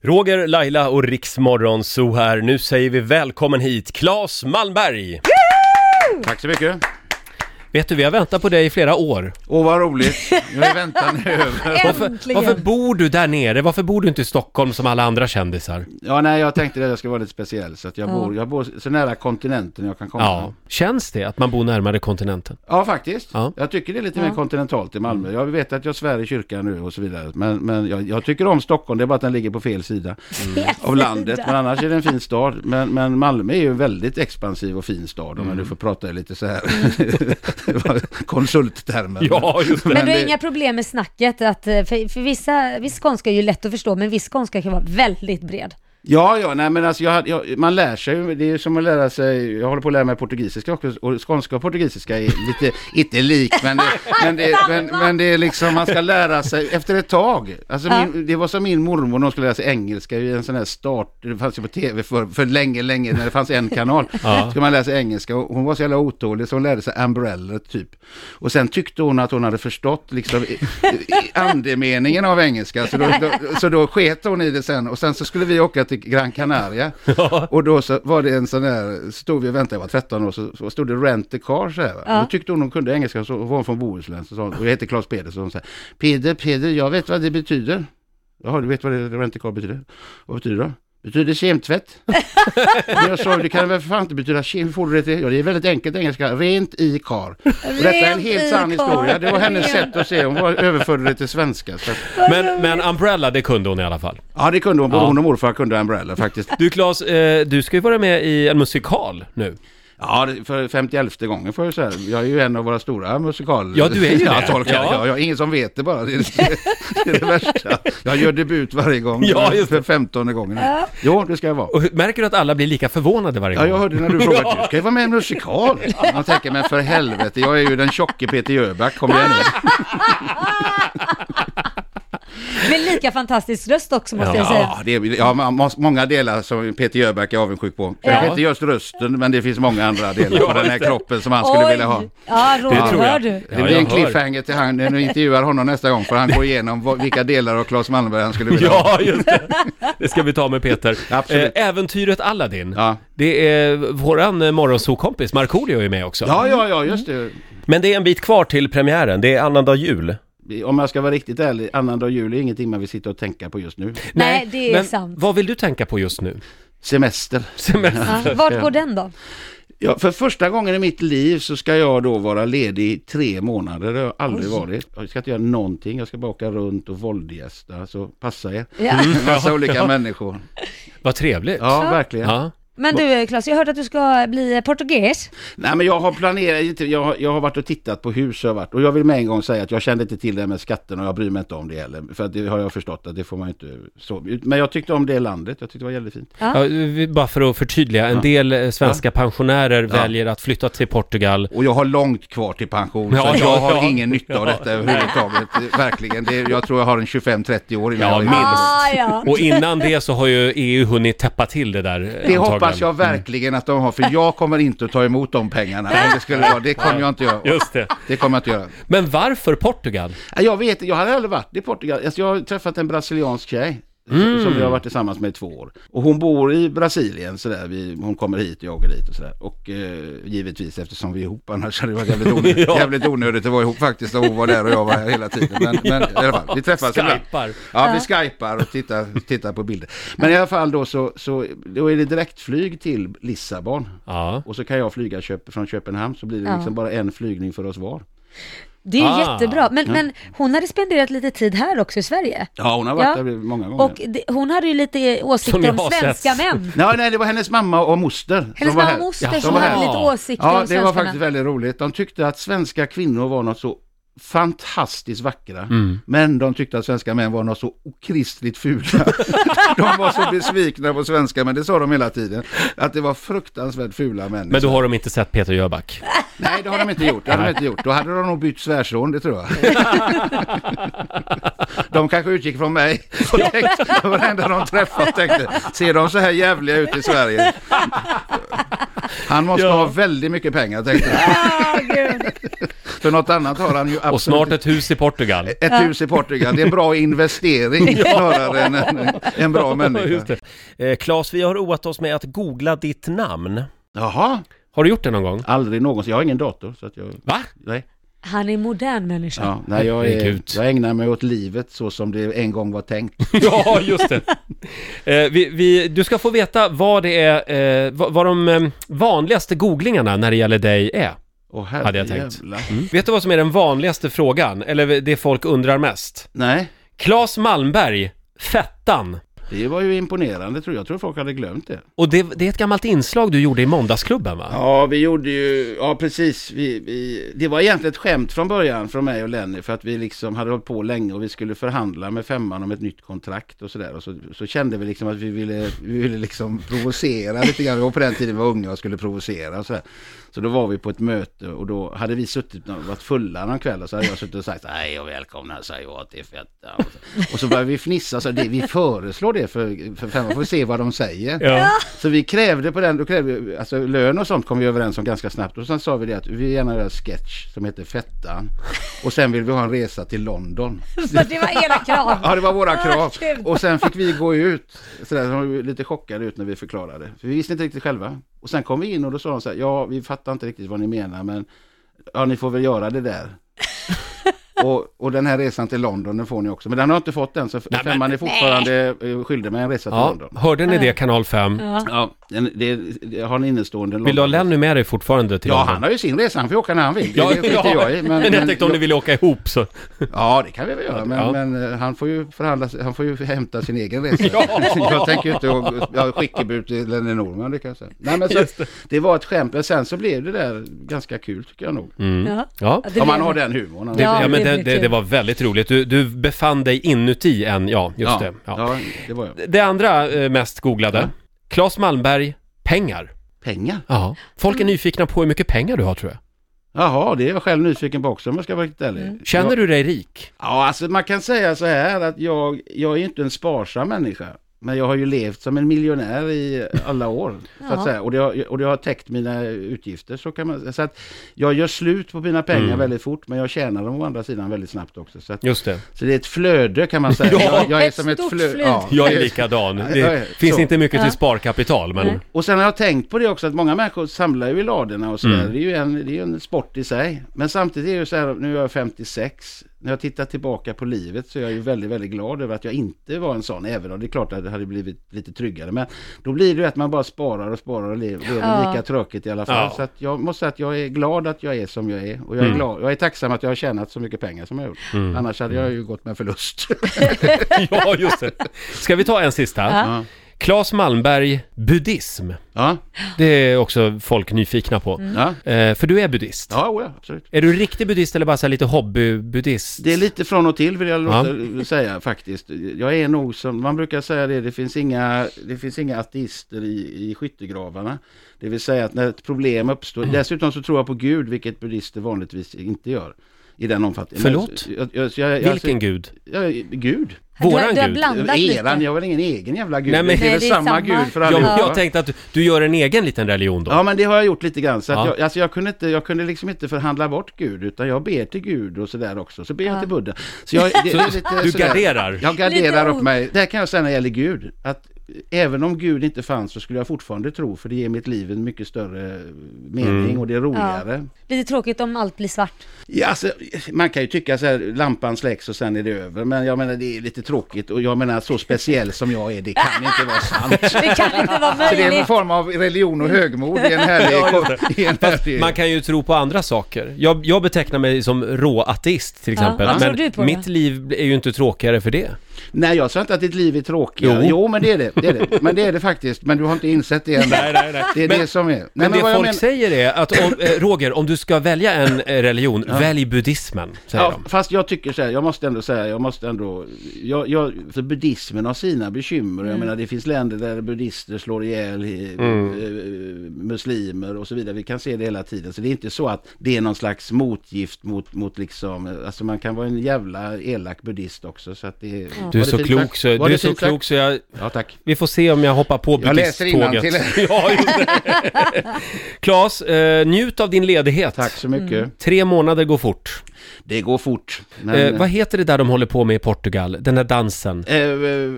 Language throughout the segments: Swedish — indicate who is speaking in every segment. Speaker 1: Roger, Laila och Riksmorgon så här. Nu säger vi välkommen hit, Claes Malmberg!
Speaker 2: Tack så mycket.
Speaker 1: Vet du, vi har väntat på dig i flera år.
Speaker 2: Åh, vad roligt. Jag är väntan över.
Speaker 1: Varför, varför bor du där nere? Varför bor du inte i Stockholm som alla andra kändisar?
Speaker 2: Ja, nej, jag tänkte att jag ska vara lite speciell. Så att jag, bor, jag bor så nära kontinenten jag kan komma.
Speaker 1: Ja. Känns det att man bor närmare kontinenten?
Speaker 2: Ja, faktiskt.
Speaker 1: Ja.
Speaker 2: Jag tycker det är lite mer kontinentalt i Malmö. Jag vet att jag svär i kyrkan nu och så vidare. Men, men jag, jag tycker om Stockholm, det är bara att den ligger på fel sida av landet. Men annars är det en fin stad. Men, men Malmö är ju en väldigt expansiv och fin stad om jag nu får prata i lite så här Mm. konsulttermer.
Speaker 1: Ja, just det.
Speaker 3: Men du har
Speaker 2: det-
Speaker 3: inga problem med snacket att, eh, för, för vissa, viss skånska är ju lätt att förstå, men viss skånska kan vara väldigt bred.
Speaker 2: Ja, ja, nej men alltså jag, hade- jag, man lär sig ju, det är ju som att lära sig, jag håller på att lära mig portugisiska också, och skånska och portugisiska är lite, inte lik, men det, men, det, men, men det är liksom, man ska lära sig efter ett tag. Alltså
Speaker 3: Ja.
Speaker 2: min, det var som min mormor, när hon skulle lära sig engelska i en sån här start, det fanns ju på tv för, för länge, länge, när det fanns en kanal,
Speaker 1: Ja.
Speaker 2: skulle man lära sig engelska, och hon var så jävla otålig så hon lärde sig umbrella typ. Och sen tyckte hon att hon hade förstått liksom i- i- andemeningen av engelska, så då, då, så då sket hon i det sen. Och sen så skulle vi åka till Gran Canaria. Och då så var det en sån där, stod vi och väntade, jag var 13 år, så, så stod det rent a car så här. va.
Speaker 3: Ja.
Speaker 2: Då tyckte hon hon kunde engelska, så var hon från Bohuslän. Så sa hon, och jag heter Claes Peder, så hon sa, Peder, Peder, jag vet vad det betyder. Jaha, du vet vad det, rent a car betyder? Vad betyder det då? Betyder kemtvätt? Men jag sa, det kan väl för fan inte betyda kem, hur får du det till? Ja, det är väldigt enkelt engelska, rent i kar. Och detta är en
Speaker 3: Rent
Speaker 2: helt
Speaker 3: i
Speaker 2: sann
Speaker 3: kar.
Speaker 2: historia, det var hennes
Speaker 3: Rent.
Speaker 2: sätt att se, hon var, överförde det till svenska. Så att,
Speaker 1: Men, men Umbrella, det kunde hon i alla fall.
Speaker 2: ja, det kunde hon, både
Speaker 1: Ja.
Speaker 2: hon och morfar kunde umbrella faktiskt.
Speaker 1: Du Claes, eh, du ska ju vara med i en musikal nu.
Speaker 2: Ja, det- för 51 gången får jag säga. Jag är ju en av våra stora musikal...
Speaker 1: Ja, du är ju det.
Speaker 2: jag tolkar.
Speaker 1: Ja.
Speaker 2: Ja. Ja, ingen som vet det bara. Det är det, det, är det värsta. Jag gör debut varje gång.
Speaker 1: Ja, just det.
Speaker 2: För 15 gången. nu. Jo, det ska jag vara.
Speaker 1: Och hur- märker du att alla blir lika förvånade varje
Speaker 2: Ja,
Speaker 1: gång?
Speaker 2: jag hörde när du frågade, du ska ju vara med i en musikal. Man tänker, men för helvete, jag är ju den tjocke Peter Jöback, kom igen nu.
Speaker 3: Men lika fantastisk röst också måste jag säga.
Speaker 2: Ja, det är, ja, man måste- många delar som Peter Jöback är avundsjuk på.
Speaker 3: Ja.
Speaker 2: Kanske inte just rösten, men det finns många andra delar på den här kroppen som han skulle vilja ha.
Speaker 3: Ja, Roger,
Speaker 1: tror jag.
Speaker 3: hör du?
Speaker 1: Ja,
Speaker 2: Det blir
Speaker 1: jag
Speaker 2: en
Speaker 1: hör.
Speaker 2: cliffhanger till han när du intervjuar honom nästa gång för han går igenom vad, vilka delar av Claes Malmberg han skulle vilja
Speaker 1: Ja,
Speaker 2: ha.
Speaker 1: just det. Det ska vi ta med Peter.
Speaker 2: Absolut.
Speaker 1: Eh, Äventyret Aladdin.
Speaker 2: Ja.
Speaker 1: Det är våran eh, morgonsokompis Markoolio är med också.
Speaker 2: Ja, ja, ja, just det.
Speaker 1: Men det är en bit kvar till premiären. Det är annandag jul.
Speaker 2: Om jag ska vara riktigt ärlig, annandag jul är ingenting man vill sitta och tänka på just nu.
Speaker 3: Nej, det är
Speaker 1: men
Speaker 3: sant.
Speaker 1: vad vill du tänka på just nu?
Speaker 2: Semester.
Speaker 1: Semester.
Speaker 3: Ja, vart går den då?
Speaker 2: Ja, för första gången i mitt liv så ska jag då vara ledig i tre månader. Det har jag aldrig varit. Jag ska inte göra någonting. Jag ska bara åka runt och våldgästa. Så passa er.
Speaker 3: Ja.
Speaker 2: Massa olika människor.
Speaker 1: Vad trevligt.
Speaker 2: Ja, verkligen.
Speaker 1: Ja.
Speaker 3: Men du Claes, jag hörde att du ska bli eh, portugis.
Speaker 2: Nej men jag har planerat, inte- jag, har- jag har varit och tittat på hus har jag varit. och jag vill med en gång säga att jag kände inte till det här med skatten och jag bryr mig inte om det heller. För att det har jag förstått att det får man ju inte så. Men jag tyckte om det landet, jag tyckte det var jävligt fint.
Speaker 1: Ja, vi- bara för att förtydliga, en del eh, svenska pensionärer väljer att flytta till Portugal.
Speaker 2: Och jag har långt kvar till pension
Speaker 1: Ja,
Speaker 2: så att
Speaker 1: ja,
Speaker 2: jag har
Speaker 1: ja.
Speaker 2: ingen nytta av detta överhuvudtaget. Verkligen, det, jag tror jag har en 25-30 år innan
Speaker 1: Ja,
Speaker 2: jag är-
Speaker 1: minst.
Speaker 3: Ah, ja.
Speaker 1: Och innan det så har ju EU hunnit täppa till det där. eh,
Speaker 2: Det
Speaker 1: antagligen. Mm.
Speaker 2: hoppas jag verkligen att de har, för jag kommer inte att ta emot de pengarna. Om det skulle vara, det kommer jag inte göra.
Speaker 1: Just det.
Speaker 2: Det kommer jag inte göra.
Speaker 1: Men varför Portugal?
Speaker 2: Nej, Jag vet jag hade aldrig varit i Portugal. Alltså, jag har träffat en brasiliansk tjej. Som vi har varit tillsammans med i två år. Och hon bor i Brasilien sådär. Vi, hon kommer hit och jag åker dit och sådär. Och eh, givetvis eftersom vi är ihop annars hade det varit jävligt onödigt,
Speaker 1: Ja.
Speaker 2: jävligt onödigt att vara ihop faktiskt. När hon var där och jag var här hela tiden. Men, men i alla fall, vi träffas ibland.
Speaker 1: Skypar.
Speaker 2: Ja, vi skypar och tittar, tittar på bilder. Men i alla fall då så, så då är det direktflyg till Lissabon.
Speaker 1: Ja.
Speaker 2: Och så kan jag flyga Köp, från Köpenhamn så blir det
Speaker 3: Ja.
Speaker 2: liksom bara en flygning för oss var.
Speaker 3: Det är ju
Speaker 1: Ah.
Speaker 3: jättebra. Men, men hon hade spenderat lite tid här också i Sverige.
Speaker 2: Ja, hon har varit
Speaker 3: Ja.
Speaker 2: där många gånger.
Speaker 3: Och det, hon hade ju lite
Speaker 1: Som jag
Speaker 3: åsikter
Speaker 1: har
Speaker 3: om svenska
Speaker 1: sett.
Speaker 3: män.
Speaker 2: Nej, nej, det var hennes mamma och moster
Speaker 3: Hennes
Speaker 2: som var
Speaker 3: mamma
Speaker 2: här.
Speaker 3: och moster
Speaker 1: Ja, de
Speaker 3: som
Speaker 1: var
Speaker 3: hade
Speaker 1: här.
Speaker 3: lite åsikter
Speaker 2: Ja,
Speaker 3: om
Speaker 2: det var
Speaker 3: svenskarna.
Speaker 2: faktiskt väldigt roligt. De tyckte att svenska kvinnor var något så fantastiskt vackra.
Speaker 1: Mm.
Speaker 2: Men de tyckte att svenska män var något så okristligt fula. de var så besvikna på svenska men det sa de hela tiden. Att det var fruktansvärt fula män.
Speaker 1: Men då har de inte sett Peter Jöback.
Speaker 2: Nej, det har de inte gjort. Det har de inte gjort. Då hade de nog bytt svärson, det tror jag. De kanske utgick från mig och tänkte, det var det enda de träffade och tänkte, ser de så här jävliga ut i Sverige? Han måste
Speaker 1: Ja.
Speaker 2: ha väldigt mycket pengar tänkte jag.
Speaker 3: Ah, gud.
Speaker 2: För något annat har han ju absolut
Speaker 1: Och snart ett hus i Portugal.
Speaker 2: ett hus i Portugal. Det är en bra investering snarare än en, en bra människa.
Speaker 1: Just det. Eh, Claes, vi har roat oss med att googla ditt namn.
Speaker 2: Jaha,
Speaker 1: Har du gjort det någon gång?
Speaker 2: aldrig någonsin. Jag har ingen dator så att jag...
Speaker 1: Va?
Speaker 2: Nej,
Speaker 3: Han är en modern människa.
Speaker 2: ja, nej jag, är,
Speaker 1: Herregud.
Speaker 2: jag ägnar mig åt livet så som det en gång var tänkt.
Speaker 1: Ja, just det. Eh, vi, vi, du ska få veta vad det är, eh, vad, vad de eh, vanligaste googlingarna när det gäller dig är.
Speaker 2: Åh
Speaker 1: Hade jag tänkt. Mm.
Speaker 2: herrejävlar.
Speaker 1: Vet du vad som är den vanligaste frågan, eller det folk undrar mest?
Speaker 2: Nej,
Speaker 1: Claes Malmberg, Fettan.
Speaker 2: det var ju imponerande tror jag. Jag tror folk hade glömt det.
Speaker 1: Och det, det är ett gammalt inslag du gjorde i Måndagsklubben va?
Speaker 2: Ja, vi gjorde ju, ja precis, vi, vi, det var egentligen ett skämt från början från mig och Lenny för att vi liksom hade hållit på länge och vi skulle förhandla med femman om ett nytt kontrakt och sådär och så, så kände vi liksom att vi ville, vi ville liksom provocera lite grann och på den tiden var vi unga och skulle provocera och sådär. Så då var vi på ett möte och då hade vi suttit och varit fulla någon kväll och så hade jag suttit och sagt nej och välkomna säger jag till fetta. Och så, och så började vi fnissa så det, vi föreslår det för, för femman, får vi se vad de säger.
Speaker 1: Ja.
Speaker 2: Så vi krävde på den, då krävde vi, alltså lön och sånt kom vi överens om ganska snabbt och sen sa vi det att vi vill gärna göra en sketch som heter Fettan och sen vill vi ha en resa till London.
Speaker 3: Så det var era krav.
Speaker 2: Ja, det var våra krav.
Speaker 3: Ah, kul.
Speaker 2: Och sen fick vi gå ut, sådär, så var vi lite chockade ut när vi förklarade. För vi visste inte riktigt själva. Och sen kom vi in och då sa de så här, ja vi fattar inte riktigt vad ni menar men ja ni får väl göra det där. Och, och den här resan till London den får ni också. Men den har jag inte fått än så
Speaker 1: Nej, men-
Speaker 2: femman är fortfarande eh, skyldig mig en resa till
Speaker 1: ja.
Speaker 2: London.
Speaker 1: Hörde ni det, kanal 5?
Speaker 3: Ja.
Speaker 2: Ja, den- det, det har en innestående
Speaker 1: Vill du ha Lenny med dig fortfarande till
Speaker 2: Ja,
Speaker 1: London?
Speaker 2: han har ju sin resa, han får ju åka när han vill. Det,
Speaker 1: Ja,
Speaker 2: det skiter
Speaker 1: ja.
Speaker 2: jag i.
Speaker 1: Men, jag tänkte om ni vill åka ihop så...
Speaker 2: Ja, det kan vi väl göra, men,
Speaker 1: Ja.
Speaker 2: men eh, han får ju förhandla, sig- han får ju hämta sin egen resa.
Speaker 1: Ja.
Speaker 2: jag tänker ju inte att- jag skickar ut till Lenny Norman, det kan jag säga. Nej, men så,
Speaker 1: Just
Speaker 2: det. var ett skämt, men sen så blev det där ganska kul tycker jag nog.
Speaker 3: Ja.
Speaker 1: mm. Ja.
Speaker 3: det
Speaker 2: Om Mm. man
Speaker 3: blev-
Speaker 2: har den humorn. alltså.
Speaker 1: Det, ja,
Speaker 3: Ja,
Speaker 1: men
Speaker 3: det
Speaker 1: det,
Speaker 3: blir
Speaker 1: det,
Speaker 3: kul.
Speaker 1: det var väldigt roligt. Du, du befann dig inuti en, ja, just
Speaker 2: ja,
Speaker 1: det. Ja.
Speaker 2: ja, det var jag.
Speaker 1: Det andra eh, mest googlade, Claes Malmberg, pengar.
Speaker 2: Pengar?
Speaker 1: Ja. Folk är
Speaker 3: Mm.
Speaker 1: nyfikna på hur mycket pengar du har tror jag.
Speaker 2: Jaha, det är jag själv nyfiken på också om jag ska vara riktigt ärlig.
Speaker 1: Mm. Känner du dig rik?
Speaker 2: Ja, alltså man kan säga så här att jag, jag är ju inte en sparsam människa. Men jag har ju levt som en miljonär i alla år. så att
Speaker 3: Ja.
Speaker 2: säga. Och, det har, och det har täckt mina utgifter. Så, kan man, så att jag gör slut på mina pengar
Speaker 1: Mm.
Speaker 2: väldigt fort men jag tjänar dem å andra sidan väldigt snabbt också. Så, att,
Speaker 1: Just det.
Speaker 2: så det är ett flöde kan man säga.
Speaker 1: Ja.
Speaker 2: jag, jag är
Speaker 3: Ett
Speaker 2: som ett
Speaker 3: stort
Speaker 2: flöde.
Speaker 3: flöde.
Speaker 1: Jag är likadan. Det
Speaker 2: Ja, ja, ja.
Speaker 1: finns
Speaker 2: Så.
Speaker 1: inte mycket
Speaker 3: Ja.
Speaker 1: till sparkapital, men...
Speaker 3: Nej.
Speaker 2: Och sen har jag tänkt på det också att många människor samlar ju i ladorna och sådär. Det är ju en, det är ju en sport i sig. Men samtidigt är det ju så här, nu är jag 56. När jag tittar tillbaka på livet så är jag ju väldigt, väldigt glad över att jag inte var en sån. Även om det är klart att det hade blivit lite tryggare. Men då blir det ju att man bara sparar och sparar och lever
Speaker 3: Ja.
Speaker 2: lika tråkigt i alla fall.
Speaker 1: Ja.
Speaker 2: Så att jag måste säga att jag är glad att jag är som jag är. Och jag är, glad, jag är tacksam att jag har tjänat så mycket pengar som jag har gjort. Annars hade jag ju gått med förlust.
Speaker 1: Ja, just det. Ska vi ta en sista?
Speaker 3: Ja.
Speaker 1: Claes Malmberg, buddhism.
Speaker 2: ja.
Speaker 1: Det är också folk nyfikna på.
Speaker 3: Mm.
Speaker 2: ja.
Speaker 1: Eh, för du är buddhist.
Speaker 2: Ja, oja, absolut.
Speaker 1: Är du riktig buddhist eller bara så här lite hobbybuddhist?
Speaker 2: Det är lite från och till vill jag
Speaker 1: Ja.
Speaker 2: låta säga faktiskt. Jag är nog som, man brukar säga det, det finns inga, det finns inga ateister i, i skyttegravarna. Det vill säga att när ett problem uppstår,
Speaker 1: Mm.
Speaker 2: dessutom så tror jag på Gud, vilket buddhister vanligtvis inte gör. I den omfattningen.
Speaker 1: Förlåt?
Speaker 2: Men Jag, jag, jag, jag,
Speaker 1: Vilken gud?
Speaker 2: Jag, Gud.
Speaker 3: Du har-
Speaker 1: Våran
Speaker 3: du har
Speaker 1: gud.
Speaker 3: blandat lite.
Speaker 2: Eran, jag har väl ingen egen jävla Gud.
Speaker 1: Nej, men-
Speaker 2: det är
Speaker 3: Nej,
Speaker 2: väl
Speaker 3: det är
Speaker 2: samma,
Speaker 3: samma.
Speaker 2: Gud för
Speaker 3: Ja,
Speaker 1: Jag,
Speaker 2: allihopa.
Speaker 1: jag tänkte att du gör en egen liten religion då.
Speaker 2: Ja men det har jag gjort lite grann. Så att
Speaker 1: Ja.
Speaker 2: jag, alltså jag, kunde inte, jag kunde liksom inte förhandla bort Gud utan jag ber till Gud och sådär också. Så ber jag till Buddha. Så jag, det, det är lite
Speaker 1: Du
Speaker 2: sådär.
Speaker 1: garderar.
Speaker 2: Jag garderar
Speaker 3: Lite
Speaker 2: upp mig. Det här kan jag säga när det gäller Gud. Att även om Gud inte fanns så skulle jag fortfarande tro för det ger mitt liv en mycket större mening
Speaker 1: Mm.
Speaker 2: och det är roligare.
Speaker 3: Lite tråkigt om allt blir svart.
Speaker 2: Ja, alltså, man kan ju tycka så här, lampan släcks och sen är det över. Men jag menar det är lite tråkigt och jag menar så speciell som jag är, det kan inte vara sant.
Speaker 3: Det kan inte vara
Speaker 2: Så det är en
Speaker 3: möjligt.
Speaker 2: form av religion och högmod i en härlig... i en härlig-
Speaker 1: Man kan ju tro på andra saker. Jag, jag betecknar mig som råateist till
Speaker 3: Ja,
Speaker 1: exempel.
Speaker 3: vad tror du
Speaker 1: men
Speaker 3: på då?
Speaker 1: mitt liv är ju inte tråkigare för det.
Speaker 2: Nej, jag sa inte att ditt liv är tråkigt.
Speaker 1: Jo.
Speaker 2: Jo. men det är det. det är det. Men det är det faktiskt. Men du har inte insett det än.
Speaker 1: Nej, nej, nej.
Speaker 2: Det är
Speaker 1: Men-
Speaker 2: det som är. Nej,
Speaker 1: Men, det
Speaker 2: vad jag
Speaker 1: folk
Speaker 2: men-
Speaker 1: säger är att, om, eh, Roger, om du ska välja en eh, religion, välj buddhismen, säger
Speaker 2: Ja,
Speaker 1: de.
Speaker 2: fast jag tycker så här, jag måste ändå säga, jag måste ändå, jag, jag, för buddhismen har sina bekymmer. Jag menar det finns länder där buddhister slår ihjäl eh,
Speaker 1: Mm.
Speaker 2: eh, muslimer och så vidare. Vi kan se det hela tiden. Så det är inte så att det är någon slags motgift mot, mot liksom, eh, alltså man kan vara en jävla elak buddhist också. Så att det,
Speaker 1: Du är
Speaker 2: Var det
Speaker 1: så
Speaker 2: fint
Speaker 1: klok
Speaker 2: sagt?
Speaker 1: så,
Speaker 2: Var
Speaker 1: du är
Speaker 2: det
Speaker 1: så
Speaker 2: fint
Speaker 1: klok
Speaker 2: sagt?
Speaker 1: så jag...
Speaker 2: Ja, tack.
Speaker 1: Vi får se om jag hoppar på
Speaker 2: Jag läser
Speaker 1: buddhisttåget.
Speaker 2: innantill.
Speaker 1: ja, just det. Klas, eh, njut av din ledighet.
Speaker 2: Tack så mycket.
Speaker 1: Tre månader går fort.
Speaker 2: Det går fort. Men,
Speaker 1: Eh, vad heter det där de håller på med i Portugal? Den där dansen?
Speaker 2: eh, eh,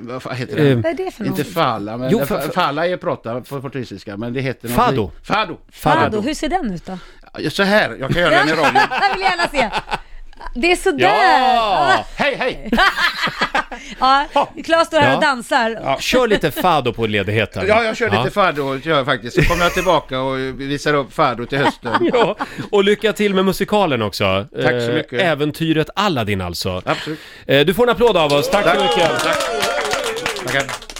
Speaker 2: vad fan heter
Speaker 1: Eh,
Speaker 2: det?
Speaker 3: Vad är det för något?
Speaker 2: Inte falla, men
Speaker 1: Jo,
Speaker 2: fa-
Speaker 1: fa- fa-
Speaker 2: falla är prata på portugisiska, men det heter något-
Speaker 1: Fado.
Speaker 2: Fado.
Speaker 3: Fado, hur ser den ut då?
Speaker 2: Ja, Så här, jag kan göra den i radio.
Speaker 3: Jag vill gärna se. Det är sådär.
Speaker 1: Ja!
Speaker 2: Hej, hej!
Speaker 3: Ja, Claes står här och
Speaker 1: Ja.
Speaker 3: dansar.
Speaker 1: Kör lite fado på ledigheten.
Speaker 2: Ja, jag kör lite fado, gör jag faktiskt. Så kommer jag tillbaka och visar upp fado till hösten.
Speaker 1: Ja, och lycka till med musikalen också.
Speaker 2: Tack så mycket.
Speaker 1: Eh, Äventyret Aladdin alltså.
Speaker 2: Absolut.
Speaker 1: Eh, Du får en applåd av oss. Tack så mycket.
Speaker 2: Tack. Tackar.